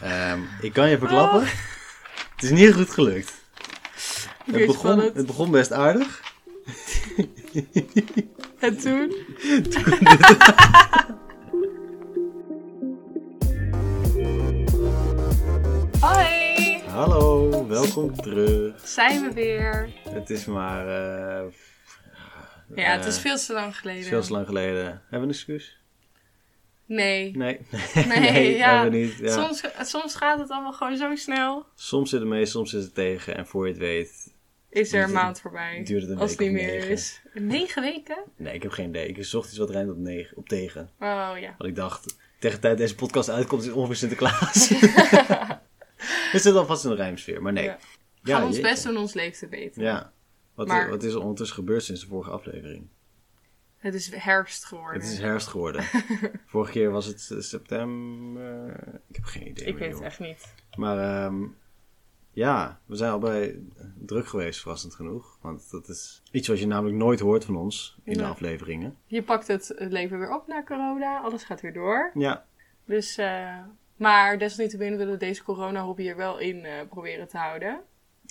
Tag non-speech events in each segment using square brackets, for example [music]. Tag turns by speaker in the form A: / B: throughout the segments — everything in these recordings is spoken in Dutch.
A: Ehm, ik kan je verklappen.
B: Oh.
A: Het is niet goed gelukt.
B: Ik
A: Het
B: weet
A: begon,
B: van
A: het.
B: het.
A: begon best aardig.
B: En toen? [laughs] Hoi!
A: Hallo, welkom terug.
B: Zijn we weer.
A: Het is maar. eh,
B: Ja, het is
A: eh,
B: veel te lang geleden.
A: Veel te lang geleden. Hebben we een excuus?
B: Nee.
A: Nee. [laughs]
B: Nee, ja.
A: hebben we niet. Ja. Soms...
B: Soms, soms gaat het allemaal gewoon zo snel.
A: zit het mee, soms zit het tegen. En voor je het weet. Duurt
B: Is er een
A: het-
B: maand voorbij.
A: duurt het een
B: als
A: week
B: het niet
A: of
B: meer
A: negen.
B: is. Negen weken?
A: Nee, ik heb geen idee. Ik zocht iets wat rijmt op, negen, op tegen.
B: Oh ja.
A: Want ik dacht, tegen de tijd deze podcast uitkomt, is het ongeveer
B: [laughs]
A: Sinterklaas. [laughs] We zitten alvast in de rijmsfeer, maar nee.
B: Ja.
A: Ja.
B: We gaan ons
A: jeetje.
B: best doen ons leven te beter.
A: Ja. Wat,
B: Maar-
A: wat is er ondertussen gebeurd sinds de vorige aflevering?
B: Het is herfst geworden.
A: Het is herfst
B: [laughs]
A: geworden. Vorige keer was het eh, september. Ik heb geen idee.
B: Ik
A: meer,
B: weet het
A: joh.
B: echt niet.
A: Maar ehm, ja, we zijn al bij druk geweest, verrassend genoeg. Want dat is iets wat je namelijk nooit hoort van ons in de
B: Nee.
A: afleveringen.
B: Je pakt het leven weer op na corona. Alles gaat weer door.
A: Ja,
B: Dus, eh, maar desalniettemin willen we deze corona-hobby er wel in eh, proberen te houden.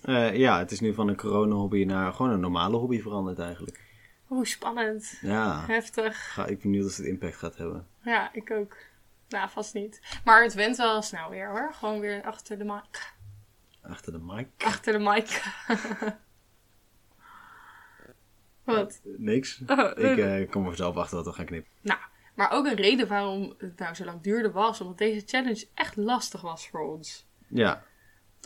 A: eh, ja, het is nu van een corona-hobby naar gewoon een normale hobby veranderd eigenlijk.
B: Oeh, spannend. [laughs]
A: Ja.
B: Heftig.
A: Ga, ik ben benieuwd of het impact gaat hebben.
B: Ja, ik ook. Nou, vast niet. Maar het went wel snel weer hoor. Gewoon weer achter de mic.
A: Achter de mic.
B: Achter de mic. [laughs] Wat?
A: Niks.
B: Oh,
A: Ik eh, kom er zelf achter wat we gaan knippen.
B: Nou, maar ook een reden waarom het nou zo lang duurde was. Omdat deze challenge echt lastig was voor ons.
A: Ja,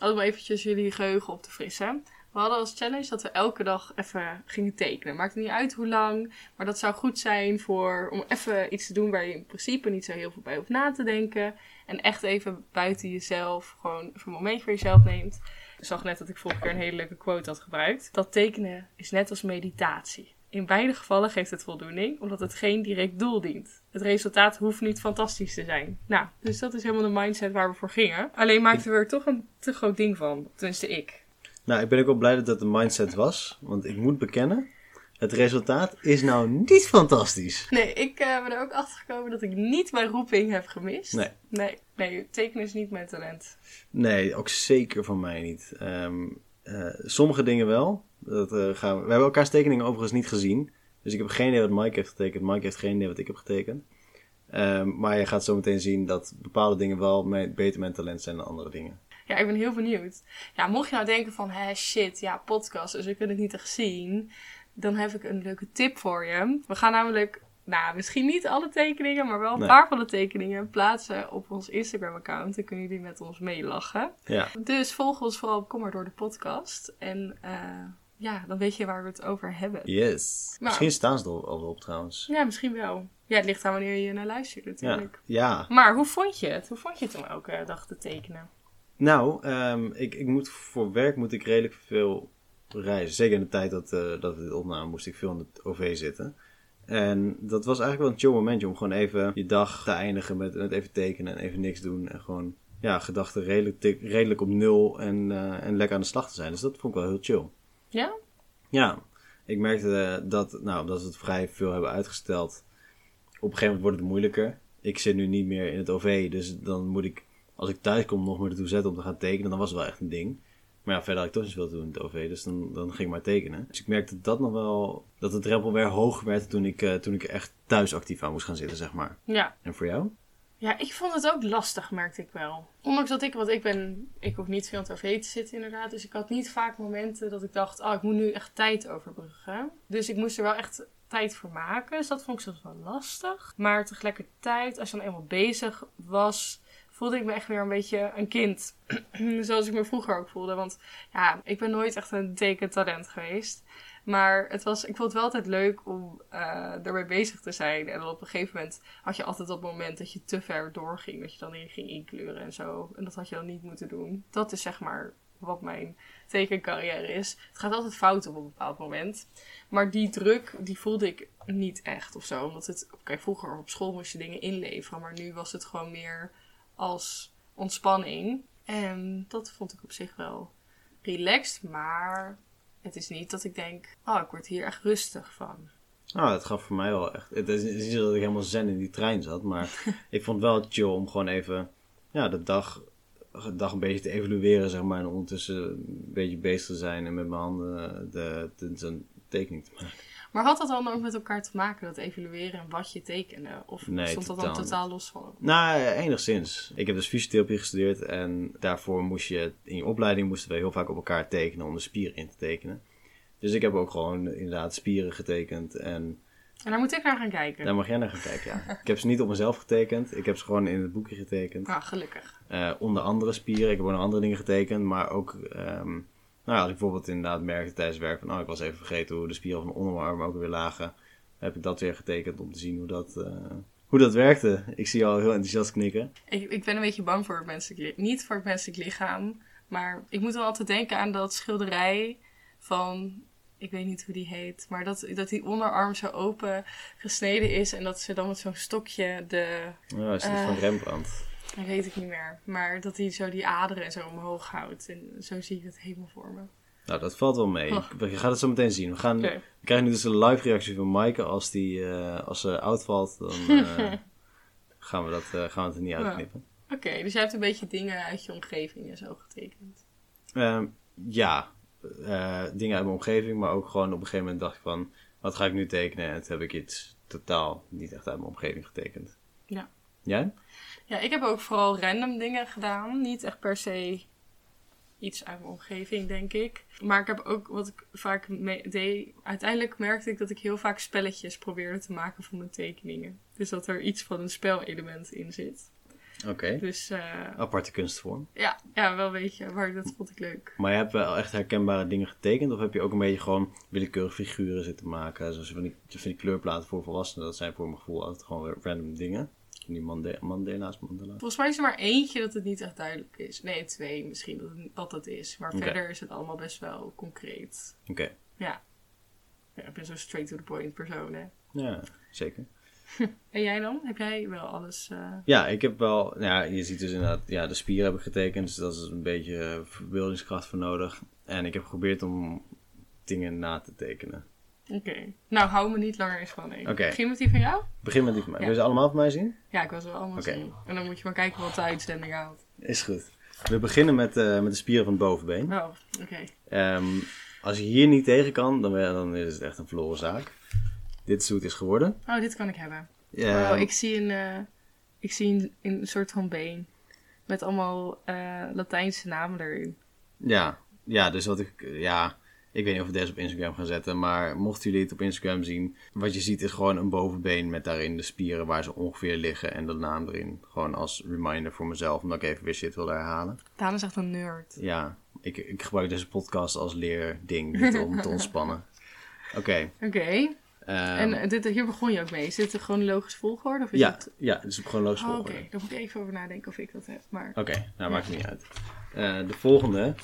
B: Om eventjes jullie geheugen op te frissen. We hadden als challenge dat we elke dag even gingen tekenen. Maakt niet uit hoe lang, maar dat zou goed zijn voor, om even iets te doen waar je in principe niet zo heel veel bij hoeft na te denken. En echt even buiten jezelf, gewoon even een moment voor jezelf neemt. Ik zag net dat ik vorige keer een hele leuke quote had gebruikt. Dat tekenen is net als meditatie. In beide gevallen geeft het voldoening, omdat het geen direct doel dient. Het resultaat hoeft niet fantastisch te zijn. Nou, dus dat is helemaal de mindset waar we voor gingen. Alleen maakten we er toch een te groot ding van. Tenminste, ik.
A: nou ik ben ook wel blij dat dat de mindset was. Want ik moet bekennen, het resultaat is nou niet fantastisch.
B: Nee, ik eh, ben er ook achter gekomen dat ik niet mijn roeping heb gemist.
A: Nee.
B: Nee, nee tekenen is niet mijn talent.
A: Nee, ook zeker van mij niet. Ehm, eh, sommige dingen wel. Dat, eh, gaan we... we hebben elkaars tekeningen overigens niet gezien. Dus ik heb geen idee wat Mike heeft getekend. Mike heeft geen idee wat ik heb getekend. Ehm, maar je gaat zo meteen zien dat bepaalde dingen wel me- beter mijn talent zijn dan andere dingen.
B: Ja, ik ben heel benieuwd. Ja, mocht je nou denken van, hé shit, ja, podcast, dus we kunnen het niet echt zien. Dan heb ik een leuke tip voor je. We gaan namelijk, nou, misschien niet alle tekeningen, maar wel een
A: Nee.
B: paar van de tekeningen plaatsen op ons Instagram-account. Dan kunnen jullie met ons meelachen.
A: Ja,
B: Dus volg ons vooral op Kom maar door de podcast. En eh, ja, dan weet je waar we het over hebben.
A: yes. Misschien staan ze er al wel op trouwens.
B: Ja, misschien wel. Ja, het ligt aan wanneer je naar luistert
A: Ja,
B: natuurlijk.
A: ja
B: Maar hoe vond je het? Hoe vond je het om elke dag te tekenen?
A: Nou, ehm, ik, ik moet voor werk moet ik redelijk veel reizen. Zeker in de tijd dat, eh, dat we dit opnamen, moest ik veel in het OV zitten. En dat was eigenlijk wel een chill momentje om gewoon even je dag te eindigen met, met even tekenen en even niks doen. En gewoon ja, gedachten redelijk, tik- redelijk op nul en, eh, en lekker aan de slag te zijn. Dus dat vond ik wel heel chill.
B: Ja?
A: Ja, ik merkte eh, dat, nou, omdat we het vrij veel hebben uitgesteld, op een gegeven moment wordt het moeilijker. Ik zit nu niet meer in het OV, dus dan moet ik, als ik thuis kom, nog meer ertoe zetten om te gaan tekenen. Dan was het wel echt een ding. Maar ja, verder had ik toch niet zoveel te doen in het OV, dus dan, dan ging ik maar tekenen. Dus ik merkte dat nog wel, dat de drempel weer hoger werd toen ik, eh, toen ik er echt thuis actief aan moest gaan zitten, zeg maar.
B: Ja.
A: En voor jou?
B: Ja, ik vond het ook lastig, merkte ik wel. Ondanks dat ik, want ik ben, ik hoef niet veel aan het OV te zitten inderdaad. Dus ik had niet vaak momenten dat ik dacht, oh, ik moet nu echt tijd overbruggen. Dus ik moest er wel echt tijd voor maken. Dus dat vond ik soms wel lastig. Maar tegelijkertijd, als je dan eenmaal bezig was, voelde ik me echt weer een beetje een kind. [clears throat] Zoals ik me vroeger ook voelde. Want ja, ik ben nooit echt een tekentalent geweest. Maar het was, ik vond het wel altijd leuk om eh ermee bezig te zijn. En dan op een gegeven moment had je altijd dat moment dat je te ver doorging. Dat je dan in ging inkleuren en zo. En dat had je dan niet moeten doen. Dat is zeg maar wat mijn tekencarrière is. Het gaat altijd fout op een bepaald moment. Maar die druk, die voelde ik niet echt of zo. Omdat het, oké, vroeger op school moest je dingen inleveren. Maar nu was het gewoon meer als ontspanning. En dat vond ik op zich wel relaxed. Maar het is niet dat ik denk, oh, ik word hier echt rustig van.
A: Nou, dat gaf voor mij wel echt. Het is, het is niet zo dat ik helemaal zen in die trein zat, maar ik vond het wel chill om gewoon even ja, de dag dag een beetje te evalueren, zeg maar. En ondertussen een beetje bezig te zijn en met mijn handen eh, de, de, zo'n tekening te maken.
B: Maar had dat dan ook met elkaar te maken, dat evalueren en wat je tekende? Of
A: Nee,
B: stond dat
A: totaal
B: dan totaal los van elkaar?
A: Nou, eh, enigszins. Ik heb dus fysiotherapie gestudeerd en daarvoor moest je, in je opleiding moesten we heel vaak op elkaar tekenen om de spieren in te tekenen. Dus ik heb ook gewoon inderdaad spieren getekend en
B: En daar moet ik naar gaan kijken.
A: daar mag jij naar gaan kijken, ja. Ik heb ze niet op mezelf getekend, ik heb ze gewoon in het boekje getekend.
B: Nou, gelukkig.
A: Eh, onder andere spieren. Ik heb ook nog andere dingen getekend. Maar ook, ehm, nou ja, als ik bijvoorbeeld inderdaad merkte tijdens het werk van, oh, ik was even vergeten hoe de spieren van mijn onderarm ook weer lagen. Heb ik dat weer getekend om te zien hoe dat, eh, hoe dat werkte. Ik zie je al heel enthousiast knikken.
B: Ik, ik ben een beetje bang voor het menselijk lichaam. Niet voor het menselijk lichaam, maar ik moet wel altijd denken aan dat schilderij van, ik weet niet hoe die heet, maar dat, dat die onderarm zo open gesneden is en dat ze dan met zo'n stokje de,
A: Nou, is dit
B: Eh.
A: van Rembrandt?
B: dat weet ik niet meer, maar dat hij zo die aderen en zo omhoog houdt. En zo zie ik het helemaal voor me.
A: Nou, dat valt wel mee.
B: Oh.
A: We gaan het zo meteen zien. We, gaan,
B: Oké.
A: we krijgen nu dus een live reactie van Maaike. Als, die, eh, als ze uitvalt, dan
B: [laughs]
A: eh, gaan, we dat, eh, gaan we het er niet
B: Ja.
A: uitknippen.
B: Oké, dus jij hebt een beetje dingen uit je omgeving en zo getekend.
A: Ehm, ja, Eh, dingen uit mijn omgeving, maar ook gewoon op een gegeven moment dacht ik van, wat ga ik nu tekenen? En toen heb ik iets totaal niet echt uit mijn omgeving getekend.
B: Ja.
A: Jij?
B: Ja, ik heb ook vooral random dingen gedaan. Niet echt per se iets uit mijn omgeving, denk ik. Maar ik heb ook wat ik vaak me- deed. Uiteindelijk merkte ik dat ik heel vaak spelletjes probeerde te maken van mijn tekeningen. Dus dat er iets van een spelelement in zit.
A: Oké.
B: Dus eh,
A: Aparte kunstvorm.
B: ja, ja, wel een beetje. Maar dat vond ik leuk.
A: Maar je hebt wel echt herkenbare dingen getekend? Of heb je ook een beetje gewoon willekeurig figuren zitten maken? Zoals van die, van die kleurplaten voor volwassenen. Dat zijn voor mijn gevoel altijd gewoon weer random dingen. Van Die Mande- Mandela's, Mandela's.
B: Volgens mij is er maar eentje dat het niet echt duidelijk is. Nee, twee misschien dat het, dat het is. Maar
A: Oké.
B: verder is het allemaal best wel concreet.
A: Oké,
B: Ja. ja. Ik ben zo'n straight to the point persoon, hè.
A: ja, zeker.
B: En jij dan? Heb jij wel alles... eh,
A: Ja, ik heb wel, nou ja, je ziet dus inderdaad, ja, de spieren heb ik getekend, dus dat is een beetje eh, verbeeldingskracht voor nodig. En ik heb geprobeerd om dingen na te tekenen.
B: Oké. Nou, hou me niet langer in spanning.
A: Oké.
B: Begin met die van jou?
A: Begin met die van mij.
B: Ja.
A: Wil je ze allemaal van mij zien?
B: Ja, ik was wel allemaal
A: Oké.
B: zien. En dan moet je maar kijken wat de uitzending haalt.
A: Is goed. We beginnen met, eh, met de spieren van het bovenbeen.
B: Oh, oké.
A: Ehm, als je hier niet tegen kan, dan, ben- dan is het echt een verloren zaak. Dit is hoe het is geworden.
B: Oh, dit kan ik hebben.
A: Ehm,
B: oh, ik zie een, eh, ik zie een, een soort van been. Met allemaal eh, Latijnse namen erin.
A: Ja, ja, dus wat ik, ja, ik weet niet of we deze op Instagram gaan zetten, maar mochten jullie het op Instagram zien, wat je ziet is gewoon een bovenbeen met daarin de spieren waar ze ongeveer liggen en de naam erin. Gewoon als reminder voor mezelf, omdat ik even weer shit wil herhalen.
B: Daan is echt een nerd.
A: Ja, ik, ik gebruik deze podcast als leerding, niet om
B: [laughs]
A: te ontspannen. Oké.
B: Oké.
A: ehm,
B: en eh, dit, hier begon je ook mee. Is dit een chronologisch volgorde? Of is
A: ja,
B: het...
A: ja, dus op chronologische
B: Oh, oké.
A: volgorde.
B: Dan moet ik even over nadenken of ik dat heb. Maar
A: Oké, nou maakt niet uit. Eh, de volgende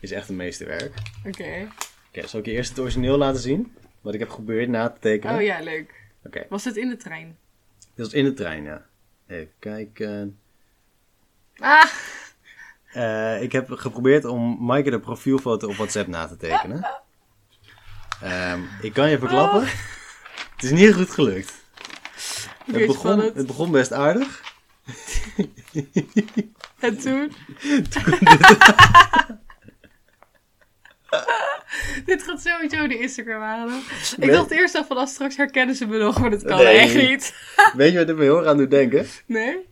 A: is echt een meesterwerk. Oké,
B: oké.
A: zal ik je eerst het origineel laten zien? Wat ik heb geprobeerd na te tekenen.
B: Oh ja, leuk.
A: Oké.
B: Was dit in de trein?
A: Dit was in de trein, ja. Even kijken.
B: Ah!
A: Eh, ik heb geprobeerd om Maaike de profielfoto op WhatsApp na te tekenen. Ehm, ik kan je verklappen. Het is niet goed gelukt.
B: Ik
A: Het
B: weet
A: begon,
B: van het.
A: het begon best aardig.
B: En
A: [laughs]
B: toen? Dit gaat sowieso de Instagram halen. Ik
A: Nee.
B: dacht eerst al van, als straks herkennen ze me nog, maar dat kan
A: Nee.
B: echt niet.
A: Weet je wat ik me heel erg aan doet denken? [laughs]
B: Nee?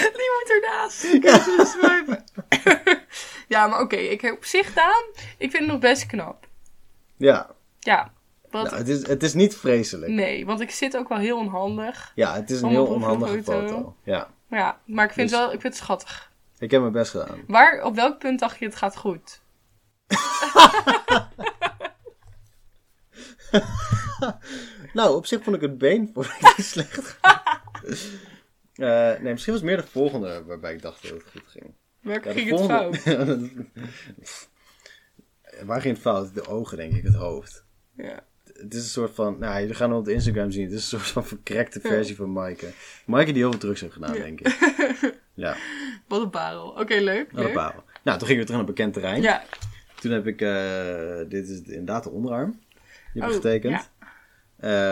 B: Die moet ernaast. Ik
A: Ja.
B: ga zo swipen. [laughs] ja, maar oké. ik heb op zich Daan, ik vind het nog best knap.
A: Ja,
B: Ja. Wat?
A: nou, het, is, het is niet vreselijk.
B: nee, want ik zit ook wel heel onhandig.
A: Ja, het is een
B: Om een
A: heel onhandige
B: profielfoto.
A: foto. Ja,
B: Maar ja, maar ik vind,
A: Dus-
B: het wel, ik vind het schattig.
A: ik heb mijn best gedaan.
B: Waar, op welk punt dacht je het gaat goed?
A: Nou, op zich vond ik het [laughs] been vond ik niet slecht. Eh, nee, misschien was het meer de volgende waarbij ik dacht dat het goed ging.
B: Welke
A: [laughs] Ja, de
B: ging het
A: volgende-
B: fout?
A: Waar ging het fout? De ogen, denk ik, het hoofd.
B: Ja.
A: Het is een soort van, nou, jullie gaan het op Instagram zien. Het is een soort van verkrekte versie van Maaike. Maaike die heel veel drugs heeft gedaan, denk ik.
B: [laughs]
A: Ja,
B: Wat een parel. Oké, leuk.
A: wat een
B: leuk.
A: parel. Nou, toen gingen we terug naar bekend terrein.
B: Ja.
A: Toen heb ik, eh, dit is inderdaad de onderarm. Die heb ik
B: Oh,
A: getekend.
B: ja.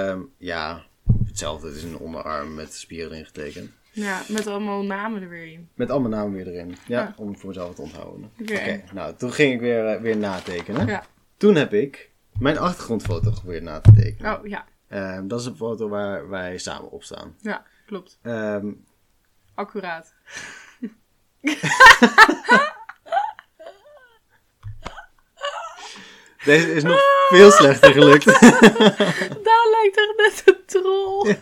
A: Ehm, ja, hetzelfde. Het is een onderarm met spieren ingetekend.
B: Ja, met allemaal namen er weer in.
A: Met al mijn namen weer erin. Ja,
B: Ah.
A: om het voor mezelf te onthouden.
B: Oké.
A: nou, toen ging ik weer, eh, weer natekenen.
B: Ja.
A: Toen heb ik mijn achtergrondfoto geprobeerd na te tekenen.
B: Oh, ja.
A: Ehm, dat is een foto waar wij samen op staan.
B: Ja, klopt.
A: Ehm,
B: Accuraat. [laughs]
A: deze is nog veel slechter gelukt. [laughs]
B: Daar lijkt echt net een troll.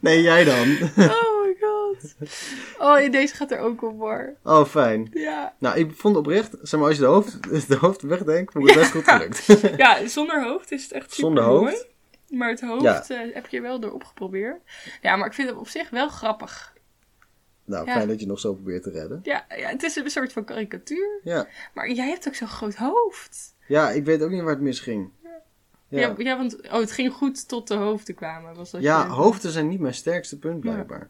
A: nee, jij
B: [laughs]
A: dan.
B: Oh my god. Oh, in deze gaat er ook op hoor.
A: Oh, fijn.
B: Ja.
A: Nou, ik vond oprecht, zeg maar, als je de hoofd, [laughs] de hoofd wegdenkt, vond ik het best goed gelukt.
B: ja, zonder hoofd is het echt super
A: Zonder hoofd.
B: Maar het hoofd eh, heb je wel erop geprobeerd. Ja, maar ik vind het op zich wel grappig.
A: [laughs] nou,
B: Ja.
A: fijn dat je nog zo probeert te redden.
B: Ja, ja, het is een soort van karikatuur.
A: Ja.
B: Maar jij hebt ook zo'n groot hoofd.
A: ja, ik weet ook niet waar het misging.
B: Ja. Ja, want oh, het ging goed tot de hoofden kwamen. Was dat
A: Ja,
B: je...
A: hoofden zijn niet mijn sterkste punt blijkbaar.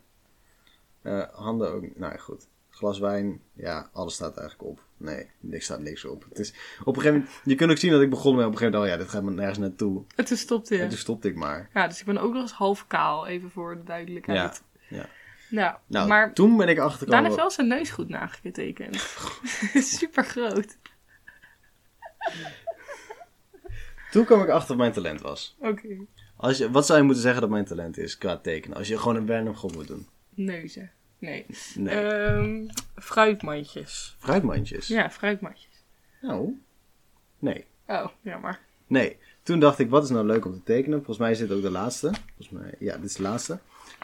A: Eh, handen ook. Nou ja, goed. Glas wijn, ja, alles staat eigenlijk op. Nee, niks staat niks op. Het is, op een gegeven moment, je kunt ook zien dat ik begon met op een gegeven moment, oh ja, dit gaat me nergens naartoe.
B: En toen stopte
A: En
B: je.
A: toen stopte ik maar.
B: Ja, dus ik ben ook nog eens half kaal, even voor de duidelijkheid.
A: Ja, ja.
B: Nou,
A: Nou,
B: maar
A: toen ben ik
B: Daan
A: achtergekomen.
B: heeft wel zijn neus goed nagetekend. [laughs] Super groot.
A: Toen kwam ik achter wat mijn talent was.
B: Oké.
A: Als je, wat zou je moeten zeggen dat mijn talent is qua tekenen? Als je gewoon een random god moet doen.
B: Neuzen. Nee.
A: Nee.
B: Ehm, fruitmandjes.
A: Fruitmandjes.
B: Ja, fruitmandjes.
A: Nou, nee.
B: Oh, jammer.
A: Nee. Toen dacht ik, wat is nou leuk om te tekenen? Volgens mij is dit ook de laatste. Volgens mij, ja, dit is de laatste.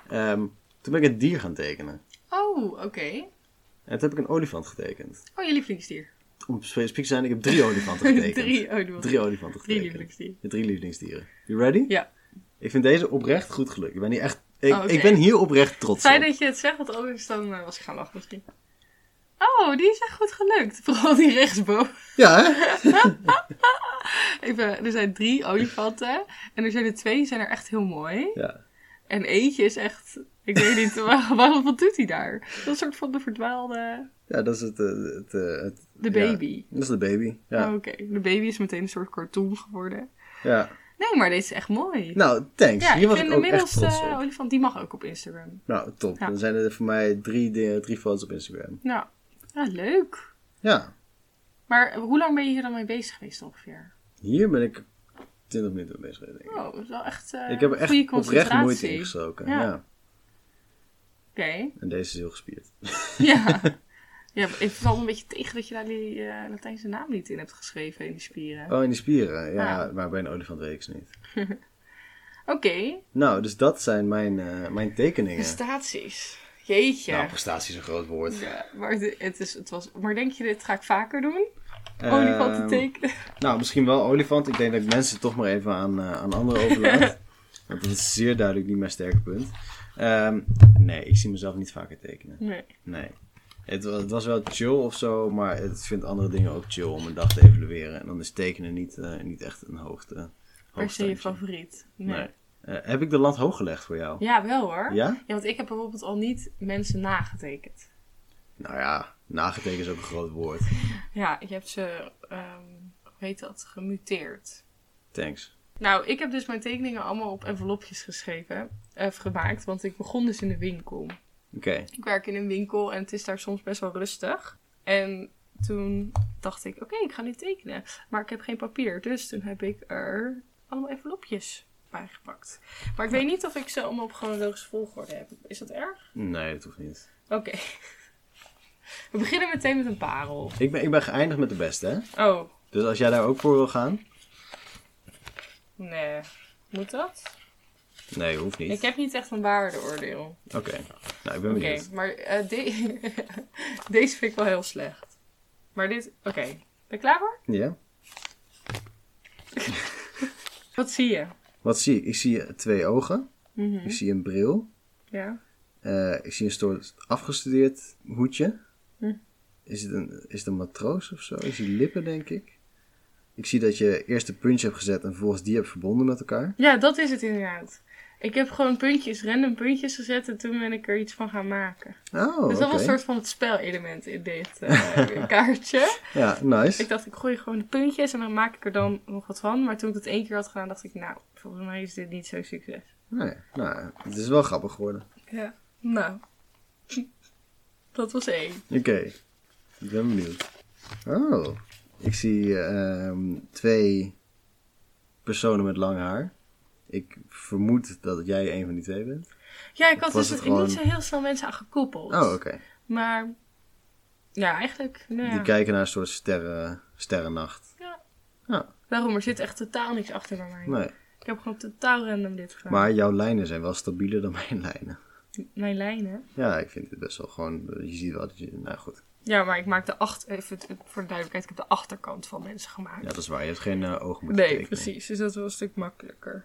A: Ehm, toen ben ik een dier gaan tekenen.
B: Oh, oké.
A: En toen heb ik een olifant getekend.
B: Oh, je lievelingsdier.
A: Om specifiek te zijn, ik heb drie olifanten
B: [laughs]
A: getekend.
B: Drie, oh, doe
A: Drie olifanten
B: Drie
A: getekend.
B: lievelingsdieren.
A: Ja, drie lievelingsdieren. You ready?
B: Ja.
A: Ik vind deze oprecht goed gelukt. Ik ben hier, echt, ik,
B: Oh, oké.
A: ik ben hier oprecht trots
B: Fijn
A: op.
B: dat je het zegt, want anders dan eh, was ik gaan lachen misschien. Oh, die is echt goed gelukt. [laughs] Vooral die rechtsboven.
A: Ja,
B: [laughs]
A: hè?
B: Ik ben- er zijn drie olifanten. En er zijn er twee, zijn er echt heel mooi.
A: Ja.
B: En eentje is echt... Ik weet niet, [laughs] waar- waarom, wat doet hij daar? Dat is een soort van de verdwaalde...
A: ja, dat is het, eh, het, eh, het- Ja.
B: De baby.
A: Dat is de baby. Ja.
B: Oh, Oké, de baby is meteen een soort cartoon geworden.
A: ja.
B: Nee, maar deze is echt mooi.
A: Nou, thanks.
B: ja,
A: hier
B: ik
A: was ik
B: vind
A: ook echt
B: inmiddels de
A: trots op.
B: olifant, die mag ook op Instagram.
A: Nou, top.
B: Ja.
A: Dan zijn er voor mij drie, dingen- drie foto's op Instagram.
B: Nou, ja, leuk.
A: Ja.
B: Maar hoe lang ben je hier dan mee bezig geweest ongeveer?
A: Hier ben ik 20 minuten mee bezig, denk ik.
B: Oh, dat is wel echt eh
A: ik heb er
B: goede
A: echt oprecht
B: concentratie.
A: moeite in gestoken. Ja.
B: Ja. Oké, [laughs]
A: En deze is heel gespierd.
B: ja. ja. maar Ik val een beetje tegen dat je daar die eh, Latijnse naam niet in hebt geschreven in die spieren.
A: Oh, en die spieren. Ja,
B: Ah.
A: maar bij een olifant weet ik ze niet.
B: Oké,
A: Nou, dus dat zijn mijn, eh, mijn tekeningen.
B: prestaties. Jeetje.
A: Nou, prestatie is een groot woord.
B: Ja, maar, de- het is, het was, maar denk je, dit ga ik vaker doen?
A: Ehm,
B: Olifanten tekenen.
A: Nou, misschien wel olifant. Ik denk dat ik mensen toch maar even aan, eh, aan anderen
B: [laughs]
A: overlaat. Want dat is zeer duidelijk niet mijn sterke punt. Ehm, nee, ik zie mezelf niet vaker tekenen.
B: Nee.
A: Nee. Het, wa- het was wel chill of zo, maar het vindt andere dingen ook chill om een dag te evalueren. En dan is tekenen niet, eh, niet echt een hoogte.
B: Per se je
A: hoogstandje.
B: favoriet. Nee.
A: Nee. Eh, heb ik de land hoog gelegd voor jou?
B: Ja, wel hoor.
A: Ja?
B: want ik heb bijvoorbeeld al niet mensen nagetekend.
A: Nou ja, nagetekend is ook een groot woord.
B: Ja, je hebt ze, ehm, hoe heet dat, gemuteerd.
A: Thanks.
B: Nou, ik heb dus mijn tekeningen allemaal op envelopjes geschreven, of gemaakt, want ik begon dus in de winkel.
A: Oké.
B: Ik werk in een winkel en het is daar soms best wel rustig. En toen dacht ik, oké, ik ga nu tekenen. Maar ik heb geen papier, dus toen heb ik er allemaal envelopjes bij gepakt. Maar ik weet niet of ik ze allemaal op chronologische volgorde heb. Is dat erg?
A: Nee, dat hoeft niet.
B: Oké. [laughs] We beginnen meteen met een parel.
A: Ik ben, ik ben geëindigd met de beste, hè?
B: Oh,
A: Dus als jij daar ook voor wil gaan?
B: nee. Moet dat?
A: Nee, hoeft niet.
B: Ik heb niet echt een waardeoordeel.
A: Oké. Nou, ik ben
B: Oké,
A: benieuwd.
B: maar eh, de- [laughs] deze vind ik wel heel slecht. Maar dit, oké. Ben je klaar voor?
A: Ja?
B: Wat zie je?
A: Wat zie ik? Ik zie twee ogen.
B: Mhm.
A: Ik zie een bril.
B: Ja.
A: Eh, ik zie een soort afgestudeerd hoedje.
B: Hm.
A: Is, het een, is het een matroos of zo? Ik zie lippen, denk ik. Ik zie dat je eerst de punch hebt gezet en vervolgens die hebt verbonden met elkaar.
B: Ja, dat is het inderdaad. Ik heb gewoon puntjes, random puntjes gezet en toen ben ik er iets van gaan maken.
A: Oh,
B: dus
A: oké.
B: dat was een soort van het spelelement in dit eh, [laughs] kaartje.
A: Ja, nice.
B: Ik dacht, ik gooi gewoon de puntjes en dan maak ik er dan nog wat van. Maar toen ik dat één keer had gedaan, dacht ik, nou, volgens mij is dit niet zo'n succes.
A: Nee, nou, het is wel grappig geworden.
B: Ja. Nou. [laughs] Dat was één.
A: Oké, ik ben benieuwd. Oh, ik zie ehm, twee personen met lang haar. Ik vermoed dat jij een van die twee bent.
B: Ja, ik had
A: Of was
B: dus
A: het
B: ik niet zo
A: gewoon-
B: heel snel mensen aan gekoppeld.
A: Oh, oké.
B: Maar ja, eigenlijk. Nou
A: Die
B: ja.
A: kijken naar een soort sterren, sterrennacht. Oh,
B: Ja.
A: Ja,
B: Daarom, er zit echt totaal niks achter bij mij.
A: nee.
B: Ik heb gewoon totaal random dit gedaan.
A: Maar jouw lijnen zijn wel stabieler dan [laughs] mijn lijnen.
B: Mijn lijnen.
A: Ja, ik vind het best wel gewoon... Je ziet wel dat je... Nou goed,
B: Ja, maar ik maak de achter... Even t- voor de duidelijkheid, ik heb de achterkant van mensen gemaakt.
A: ja, dat is waar. Je hebt geen eh, ogen moeten
B: nee,
A: tekenen.
B: precies. Dus dat was een stuk makkelijker.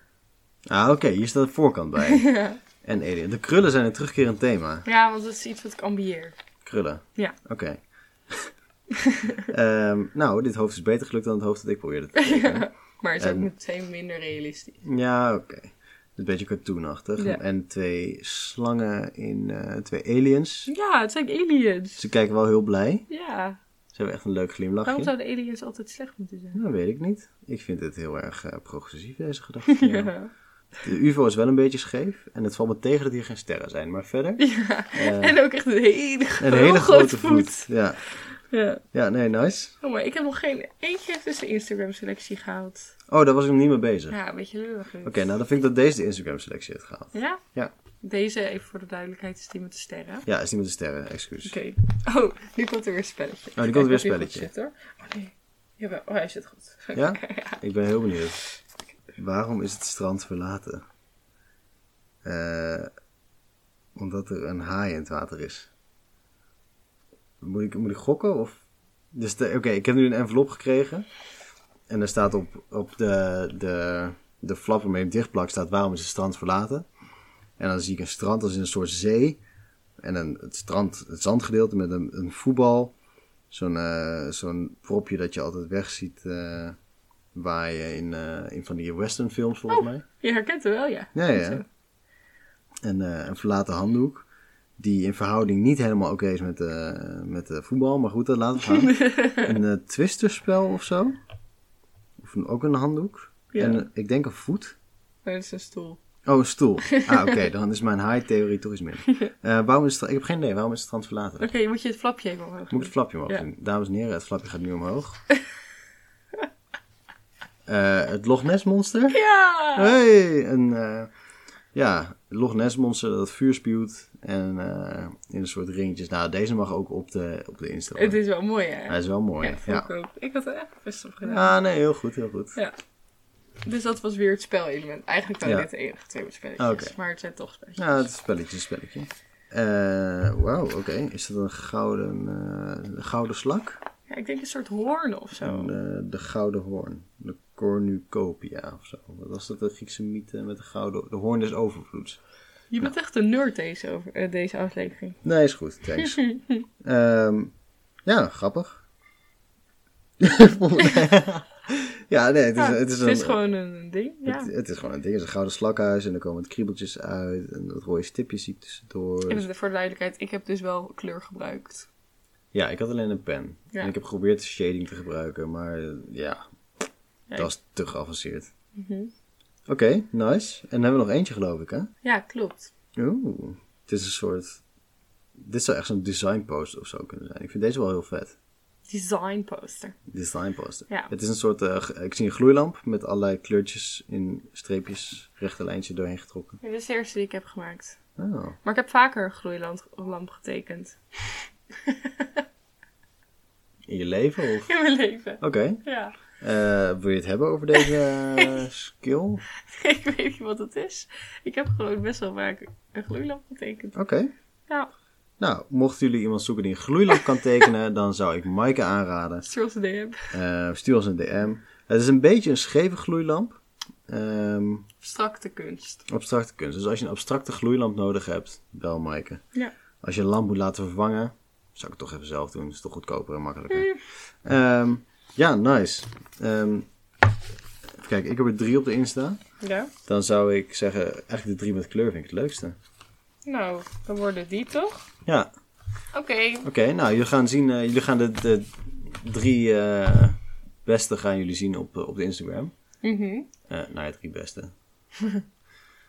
A: Ah, oké. Hier staat de voorkant
B: [laughs]
A: bij. En alien. De krullen zijn een terugkerend thema.
B: Ja, want dat is iets wat ik ambieer.
A: Krullen.
B: Ja.
A: Oké. [laughs] Ehm, nou, dit hoofd is beter gelukt dan het hoofd dat ik probeerde te
B: [laughs]
A: tekenen.
B: Maar het is ook
A: En-
B: meteen minder realistisch.
A: ja, oké. Een beetje cartoonachtig.
B: Ja.
A: En twee slangen in eh, twee aliens.
B: Ja, het zijn aliens.
A: Ze kijken wel heel blij.
B: Ja.
A: Ze hebben echt een leuk
B: Waarom
A: glimlachje.
B: zouden aliens altijd slecht moeten zijn?
A: Nou, weet ik niet. Ik vind het heel erg eh, progressief, deze gedachte. van [laughs] jou.
B: [laughs] Ja.
A: De UFO is wel een beetje scheef. En het valt me tegen dat hier geen sterren zijn. Maar [laughs] verder. eh,
B: En ook echt een hele,
A: een hele grote voet. Ja.
B: Ja.
A: ja, nee, nice.
B: Oh, maar ik heb nog geen eentje dus tussen Instagram selectie gehaald.
A: Oh, daar was ik nog niet mee bezig.
B: Ja, een beetje lullig. dus.
A: Oké, nou dan vind ik dat deze de Instagram-selectie heeft gehaald.
B: Ja?
A: Ja.
B: Deze, even voor de duidelijkheid, is die met de sterren.
A: Ja, is niet met de sterren, excuus.
B: Oké. Oh, nu komt er weer een spelletje.
A: Oh, komt er
B: Kijk
A: weer een
B: of die goed
A: spelletje.
B: Zit, hoor. Oh nee. Jawel. Oh, hij zit goed. [laughs]
A: Ja? Ik ben heel benieuwd. Waarom is het strand verlaten? Eh, omdat er een haai in het water is. Moet ik, moet ik gokken? Of... Dus de- Oké, ik heb nu een envelop gekregen. En daar staat op, op de, de, de flap waarmee hem dichtplakt staat waarom is het strand verlaten. En dan zie ik een strand als in een soort zee. En een, het strand, het zandgedeelte met een, een voetbal. Zo'n eh, zo'n propje dat je altijd weg ziet eh, waaien in, eh, in van die westernfilms volgens mij.
B: Je herkent hem wel, ja.
A: Ja, ja. En eh, een verlaten handdoek. Die in verhouding niet helemaal oké is met, eh, met eh, voetbal. Maar goed, dat laten we
B: [laughs]
A: gaan. een eh, twisterspel of zo. Of een- ook een handdoek.
B: Ja.
A: En eh, ik denk een voet.
B: Nee, dat is een stoel.
A: Oh, een stoel. Ah, oké.
B: [laughs]
A: dan is mijn high-theorie toch iets minder. Eh, waarom is het, ik heb geen idee. Waarom is het strand verlaten?
B: Oké, moet je het flapje even omhoog
A: Moet ik het flapje omhoog
B: Ja.
A: doen? Dames en heren, het flapje gaat nu
B: [laughs]
A: omhoog. Eh, het Loch Ness Monster.
B: Ja!
A: Hey, een eh, ja, Loch Ness monster dat vuur spuwt en eh, in een soort ringetjes. Nou, deze mag ook op de, op de Insta.
B: Het is wel mooi, hè?
A: Hij is wel mooi.
B: ja,
A: Ja,
B: vond ik
A: ja.
B: ook. eh, Ik had er echt best op gedaan.
A: Ah, nee, heel goed, heel goed.
B: Ja. Dus dat was weer het spelelement. Eigenlijk waren
A: Ja.
B: dit de enige twee spelletjes.
A: Oké.
B: Maar het zijn toch spelletjes.
A: Ja, het is een spelletje, een spelletje. Eh, Wauw, oké. Is dat een gouden, eh, een gouden slak?
B: Ja, ik denk een soort hoorn of zo.
A: En, eh, de gouden hoorn. De cornucopia of zo. Wat was dat, de Griekse mythe met de gouden... De hoorn des overvloeds.
B: Je bent echt een nerd deze, over, eh, deze aflevering.
A: Nee, is goed.
B: [laughs]
A: Thanks. Ehm, ja, grappig. ja, nee, het is,
B: Ja,
A: het is,
B: het is
A: een,
B: gewoon een ding. Ja.
A: het, het is gewoon een ding. Het is een gouden slakhuis en er komen wat kriebeltjes uit en wat rode stipjes zie ik tussendoor.
B: En voor de duidelijkheid, ik heb dus wel kleur gebruikt.
A: Ja, ik had alleen een pen.
B: Ja.
A: En ik heb geprobeerd shading te gebruiken, maar eh, ja,
B: Ja,
A: dat is te geavanceerd.
B: Mhm.
A: Oké, nice. En dan hebben we nog eentje, geloof ik, hè?
B: Ja, klopt.
A: Oeh, het is een soort... Dit zou echt zo'n design post of zo kunnen zijn. Ik vind deze wel heel vet.
B: Design poster.
A: Design poster.
B: Ja.
A: Het is een soort, eh, g- ik zie een gloeilamp met allerlei kleurtjes in streepjes, rechte lijntje doorheen getrokken.
B: Dit is de eerste die ik heb gemaakt.
A: Oh,
B: Maar ik heb vaker een gloeilamp getekend.
A: in je leven of?
B: [laughs] In mijn leven.
A: Oké,
B: Ja.
A: Eh, wil je het hebben over deze eh, skill? Oké,
B: [laughs] ik weet niet wat het is. Ik heb gewoon best wel vaak een gloeilamp getekend. Ja,
A: nou, mochten jullie iemand zoeken die een gloeilamp kan tekenen, dan zou ik Maaike aanraden.
B: stuur ons een DM.
A: Eh, stuur ons een DM. Het is een beetje een scheve gloeilamp. Ehm
B: Abstracte kunst.
A: abstracte kunst. Dus als je een abstracte gloeilamp nodig hebt, bel Maaike.
B: Ja.
A: Als je een lamp moet laten vervangen, zou ik het toch even zelf doen. is toch goedkoper en
B: Mm.
A: makkelijker. Ehm, ja, nice. Ehm even kijken, ik heb er drie op de Insta.
B: Ja.
A: Dan zou ik zeggen, eigenlijk de drie met kleur vind ik het leukste.
B: Nou, dan worden die toch?
A: Ja,
B: Oké.
A: oké. nou, jullie gaan zien, eh, jullie gaan de, de drie eh, beste gaan jullie zien op, eh, op de Instagram.
B: Mhm.
A: Eh nou, ja, drie beste.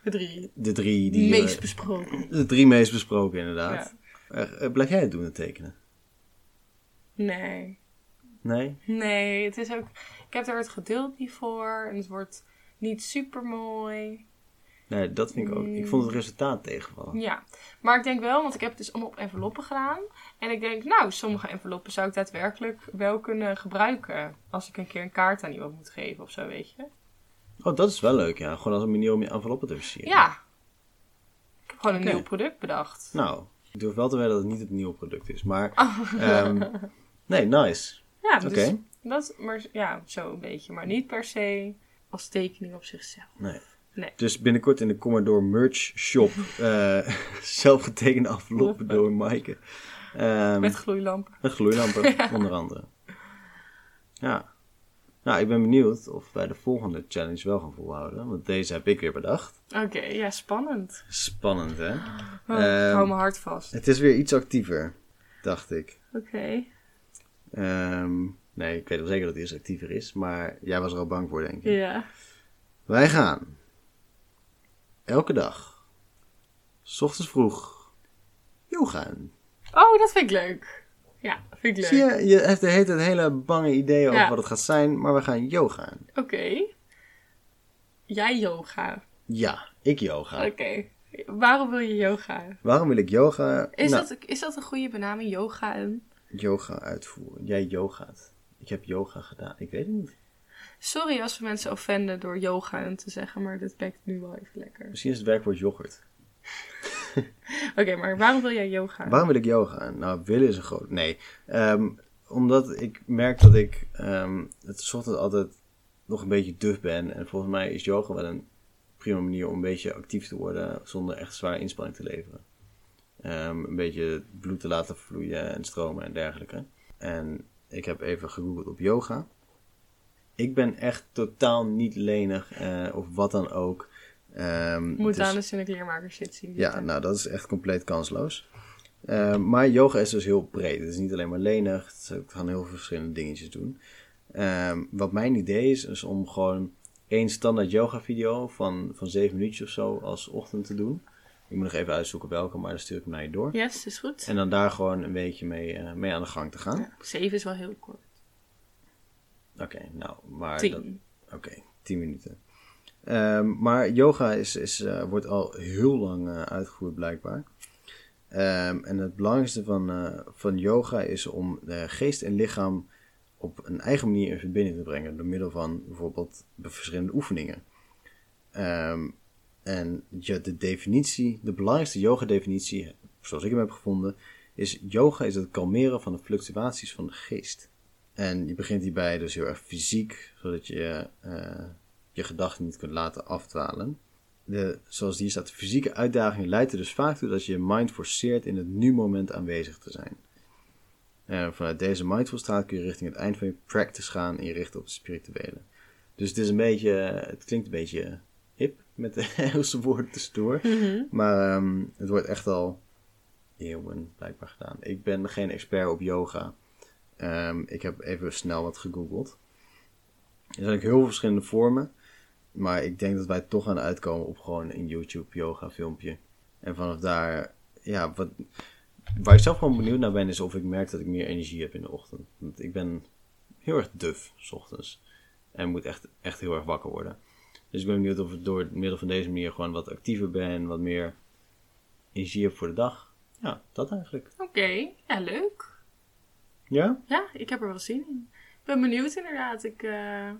B: De drie
A: De drie die eh, we-
B: meest besproken.
A: de drie meest besproken, inderdaad. Eh, eh, blijf jij het doen, het tekenen?
B: Nee.
A: Nee?
B: Nee, het is ook... Ik heb daar het geduld niet voor. En het wordt niet super mooi.
A: Nee, dat vind ik ook. Ik vond het
B: Hmm.
A: resultaat tegenvallen.
B: Ja, maar ik denk wel, want ik heb het dus allemaal op enveloppen gedaan. En ik denk, nou, sommige enveloppen zou ik daadwerkelijk wel kunnen gebruiken. Als ik een keer een kaart aan iemand moet geven of zo, weet je.
A: Oh, dat is wel leuk, ja. Gewoon als een manier om je enveloppen te versieren.
B: Ja. Ik heb gewoon een
A: Oké.
B: nieuw product bedacht.
A: Nou, ik durf wel te weten dat het niet het nieuwe product is, maar...
B: Oh.
A: ehm, nee, nice.
B: Ja,
A: Oké.
B: dus dat, maar ja, zo een beetje. Maar niet per se als tekening op zichzelf.
A: Nee.
B: Nee.
A: Dus binnenkort in de Commodore Merch
B: [laughs]
A: Shop. eh [laughs] zelfgetekende enveloppen door Maaike. Ehm,
B: Met
A: met...
B: gloeilampen. [laughs]
A: gloeilampen, onder andere. Ja. Nou, ik ben benieuwd of wij de volgende challenge wel gaan volhouden. Want deze heb ik weer bedacht.
B: Oké, ja, spannend.
A: Spannend, hè?
B: Oh,
A: Ehm,
B: ik hou mijn hart vast.
A: Het is weer iets actiever, dacht ik.
B: Oké.
A: Ehm, nee, ik weet wel zeker dat het iets actiever is. Maar jij was er al bang voor, denk ik.
B: Ja.
A: Wij gaan elke dag, s ochtends vroeg, yoga. doen.
B: Oh, dat vind ik leuk. Ja, vind ik leuk.
A: Zie je, je heeft de hele tijd hele bange ideeën over
B: Ja.
A: wat het gaat zijn, maar we gaan yoga. doen.
B: Oké. Jij yoga.
A: Ja, ik yoga.
B: Oké. Waarom wil je yoga?
A: Waarom wil ik yoga?
B: Is,
A: Nou,
B: dat, is dat een goede benaming, yoga? En...
A: yoga uitvoeren. Jij yogaat. Ik heb yoga gedaan. Ik weet het niet.
B: Sorry als we mensen offenden door yoga en te zeggen, maar dit bekt nu wel even lekker.
A: Misschien is het werkwoord yoghurt.
B: Oké, maar waarom wil jij yoga?
A: Waarom wil ik yoga? Nou, willen is een groot. Nee. Ehm, omdat ik merk dat ik ehm het 's ochtends altijd nog een beetje duf ben. En volgens mij is yoga wel een prima manier om een beetje actief te worden zonder echt zware inspanning te leveren. Ehm, een beetje het bloed te laten vloeien en stromen en dergelijke. En ik heb even gegoogeld op yoga. Ik ben echt totaal niet lenig eh, of wat dan ook. Ehm,
B: Moet
A: dus-
B: aan eens in de kleermaker shit zien.
A: ja, nou dat is echt compleet kansloos. Eh, maar yoga is dus heel breed. Het is niet alleen maar lenig. Het is ook- het gaan heel veel verschillende dingetjes doen. Ehm, wat mijn idee is, is om gewoon één standaard yoga video van, van zeven minuutjes of zo als ochtend te doen. Ik moet nog even uitzoeken welke, maar dan stuur ik hem naar je door.
B: Yes, is goed.
A: nou. En dan daar gewoon een beetje mee, eh, mee aan de gang te gaan.
B: Ja, Zeven is wel heel kort.
A: Oké, nou, maar... dat-
B: Tien.
A: Oké, 10 minuten. Ehm, maar yoga is, is, eh, wordt al heel lang eh, uitgevoerd blijkbaar. Ehm, en het belangrijkste van, eh, van yoga is om de geest en lichaam op een eigen manier in verbinding te brengen. Door middel van bijvoorbeeld be- verschillende oefeningen. Ehm, en je, de definitie, de belangrijkste yoga-definitie, zoals ik hem heb gevonden, is yoga is het kalmeren van de fluctuaties van de geest. En je begint hierbij dus heel erg fysiek, zodat je eh, je gedachten niet kunt laten afdwalen. De, zoals hier staat, de fysieke uitdaging leidt er dus vaak toe dat je je mind forceert in het nu-moment aanwezig te zijn. Eh, vanuit deze mindful staat kun je richting het eind van je practice gaan en je richten op het spirituele. Dus het is een beetje, het klinkt een beetje hip met de [laughs] Engelse woorden tussendoor. Maar ehm, het wordt echt al eeuwen blijkbaar gedaan. Ik ben geen expert op yoga. Ehm, ik heb even snel wat gegoogeld. Er zijn ook heel veel verschillende vormen. Maar ik denk dat wij toch gaan uitkomen op gewoon een YouTube yoga filmpje. En vanaf daar, ja, wat, waar ik zelf gewoon benieuwd naar ben, is of ik merk dat ik meer energie heb in de ochtend. Want ik ben heel erg duf, s ochtends. En moet echt, echt heel erg wakker worden. Dus ik ben benieuwd of ik door middel van deze manier gewoon wat actiever ben, wat meer energie heb voor de dag. Ja, dat eigenlijk.
B: Oké, ja, leuk.
A: Ja?
B: Ja, ik heb er wel zin in. Ik ben benieuwd inderdaad. Ik, eh,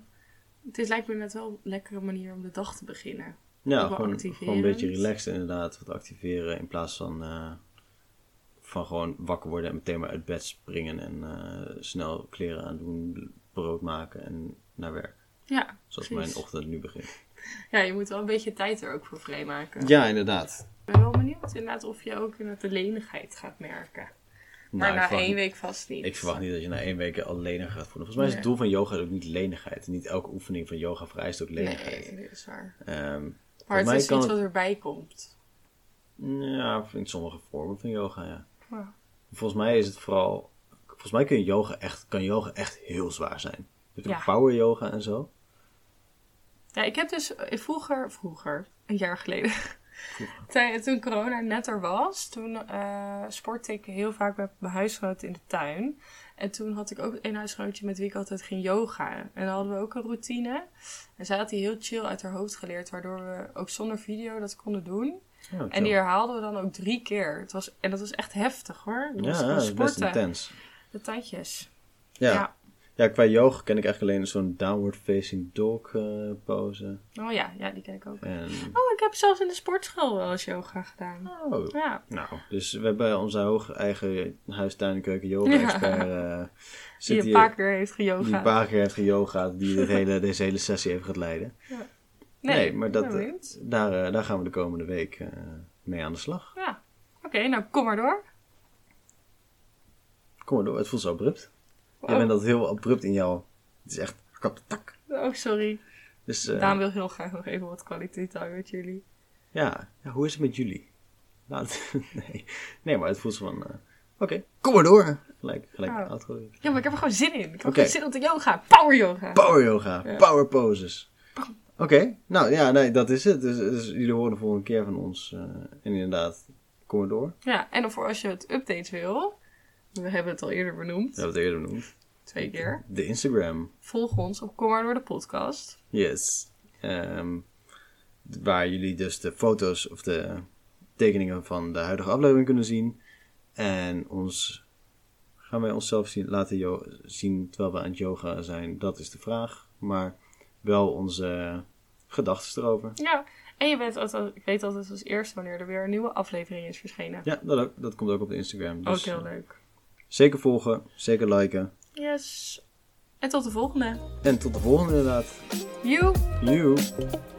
B: het is, lijkt me net wel een lekkere manier om de dag te beginnen.
A: Ja,
B: Ook wel
A: gewoon,
B: activerend.
A: gewoon een beetje relaxed inderdaad. Wat activeren in plaats van, eh, van gewoon wakker worden en meteen maar uit bed springen en eh, snel kleren aandoen, brood maken en naar werk.
B: Ja,
A: Zoals
B: precies.
A: mijn ochtend nu begint.
B: Ja, je moet wel een beetje tijd er ook voor vrijmaken.
A: Ja, inderdaad.
B: Ik ben wel benieuwd inderdaad of je ook inderdaad de lenigheid gaat merken. Maar
A: Nou, ik,
B: na
A: verwacht,
B: één week vast niet.
A: ik verwacht niet dat je na één week al lenig gaat voelen. Volgens mij is het
B: Nee.
A: doel van yoga ook niet lenigheid. Niet elke oefening van yoga vereist ook lenigheid.
B: Nee, dat is waar.
A: Ehm,
B: Maar het
A: mij
B: is
A: kan
B: iets
A: het-
B: wat erbij komt.
A: ja, in sommige vormen van yoga, ja.
B: Ja.
A: Volgens mij is het vooral. Volgens mij kun je yoga echt, kan yoga echt heel zwaar zijn. Je hebt ook
B: Ja.
A: power yoga en zo.
B: Ja, ik heb dus eh, vroeger, vroeger, een jaar geleden. [laughs] Tij- Toen corona net er was, toen eh sportte ik heel vaak met mijn huisgenoten in de tuin. En toen had ik ook een huisgenootje met wie ik altijd ging yoga. En dan hadden we ook een routine. En zij had die heel chill uit haar hoofd geleerd, waardoor we ook zonder video dat konden doen.
A: Ja,
B: En die herhaalden we dan ook drie keer. Het was, en dat was echt heftig hoor. Dat was
A: ja,
B: gewoon
A: dat is best
B: sporten.
A: intens.
B: De tandjes.
A: Ja. Ja.
B: ja.
A: qua yoga ken ik eigenlijk alleen zo'n downward facing dog eh, pose.
B: Oh ja, ja, die ken ik ook.
A: En...
B: Oh, ik heb zelfs in de sportschool wel eens yoga gedaan.
A: Oh.
B: Ja.
A: Nou, dus we hebben onze hoog eigen huistuin en
B: [laughs]
A: keuken yoga
B: Ja.
A: expert eh,
B: Die
A: zit
B: een
A: hier-
B: paar keer heeft
A: die een
B: geyoga.
A: paar keer heeft geyogaat, die dit hele, deze hele sessie even gaat leiden. Nee, maar
B: ik
A: dat,
B: ben
A: eh,
B: benieuwd.
A: Daar, eh, daar gaan we de komende week eh, mee aan de slag.
B: Ja. Oké, nou kom maar door.
A: Kom maar door, het voelt zo abrupt.
B: Oh,
A: Jij bent dat heel abrupt in jou. Het is echt kaptak.
B: oh, sorry.
A: Dus eh,
B: Daan wil heel graag nog even wat kwaliteit houden met jullie.
A: ja. ja, hoe is het met jullie? Laat, [laughs] nee. nee, maar het voelt zo van... eh, Oké, kom maar door. Gelijk, gelijk
B: Oh.
A: outro.
B: Ja, maar ik heb er gewoon zin in. Ik heb
A: Oké.
B: gewoon zin om te yoga. Power yoga.
A: Power yoga,
B: Ah. Ja.
A: power poses. Oké, nou ja, nee, dat is het. Dus, dus jullie horen de volgende keer van ons. eh, en inderdaad, kom maar door.
B: ja, en of voor als je het update wil. We hebben het al eerder
A: Dat
B: benoemd.
A: hebben we het eerder benoemd.
B: Twee keer.
A: De Instagram.
B: Volg ons op Kom maar door de podcast.
A: Yes. Ehm, waar jullie dus de foto's of de tekeningen van de huidige aflevering kunnen zien. En ons gaan wij onszelf zien, laten yo- zien terwijl we aan het yoga zijn. Dat is de vraag. Maar wel onze gedachten erover.
B: Ja. En je bent altijd, ik weet altijd als eerste wanneer er weer een nieuwe aflevering is verschenen.
A: Ja, dat, ook- dat komt ook op de Instagram. Dus
B: Ook heel leuk.
A: zeker volgen, zeker liken.
B: Yes. En tot de volgende.
A: En tot de volgende inderdaad.
B: You.
A: Joe.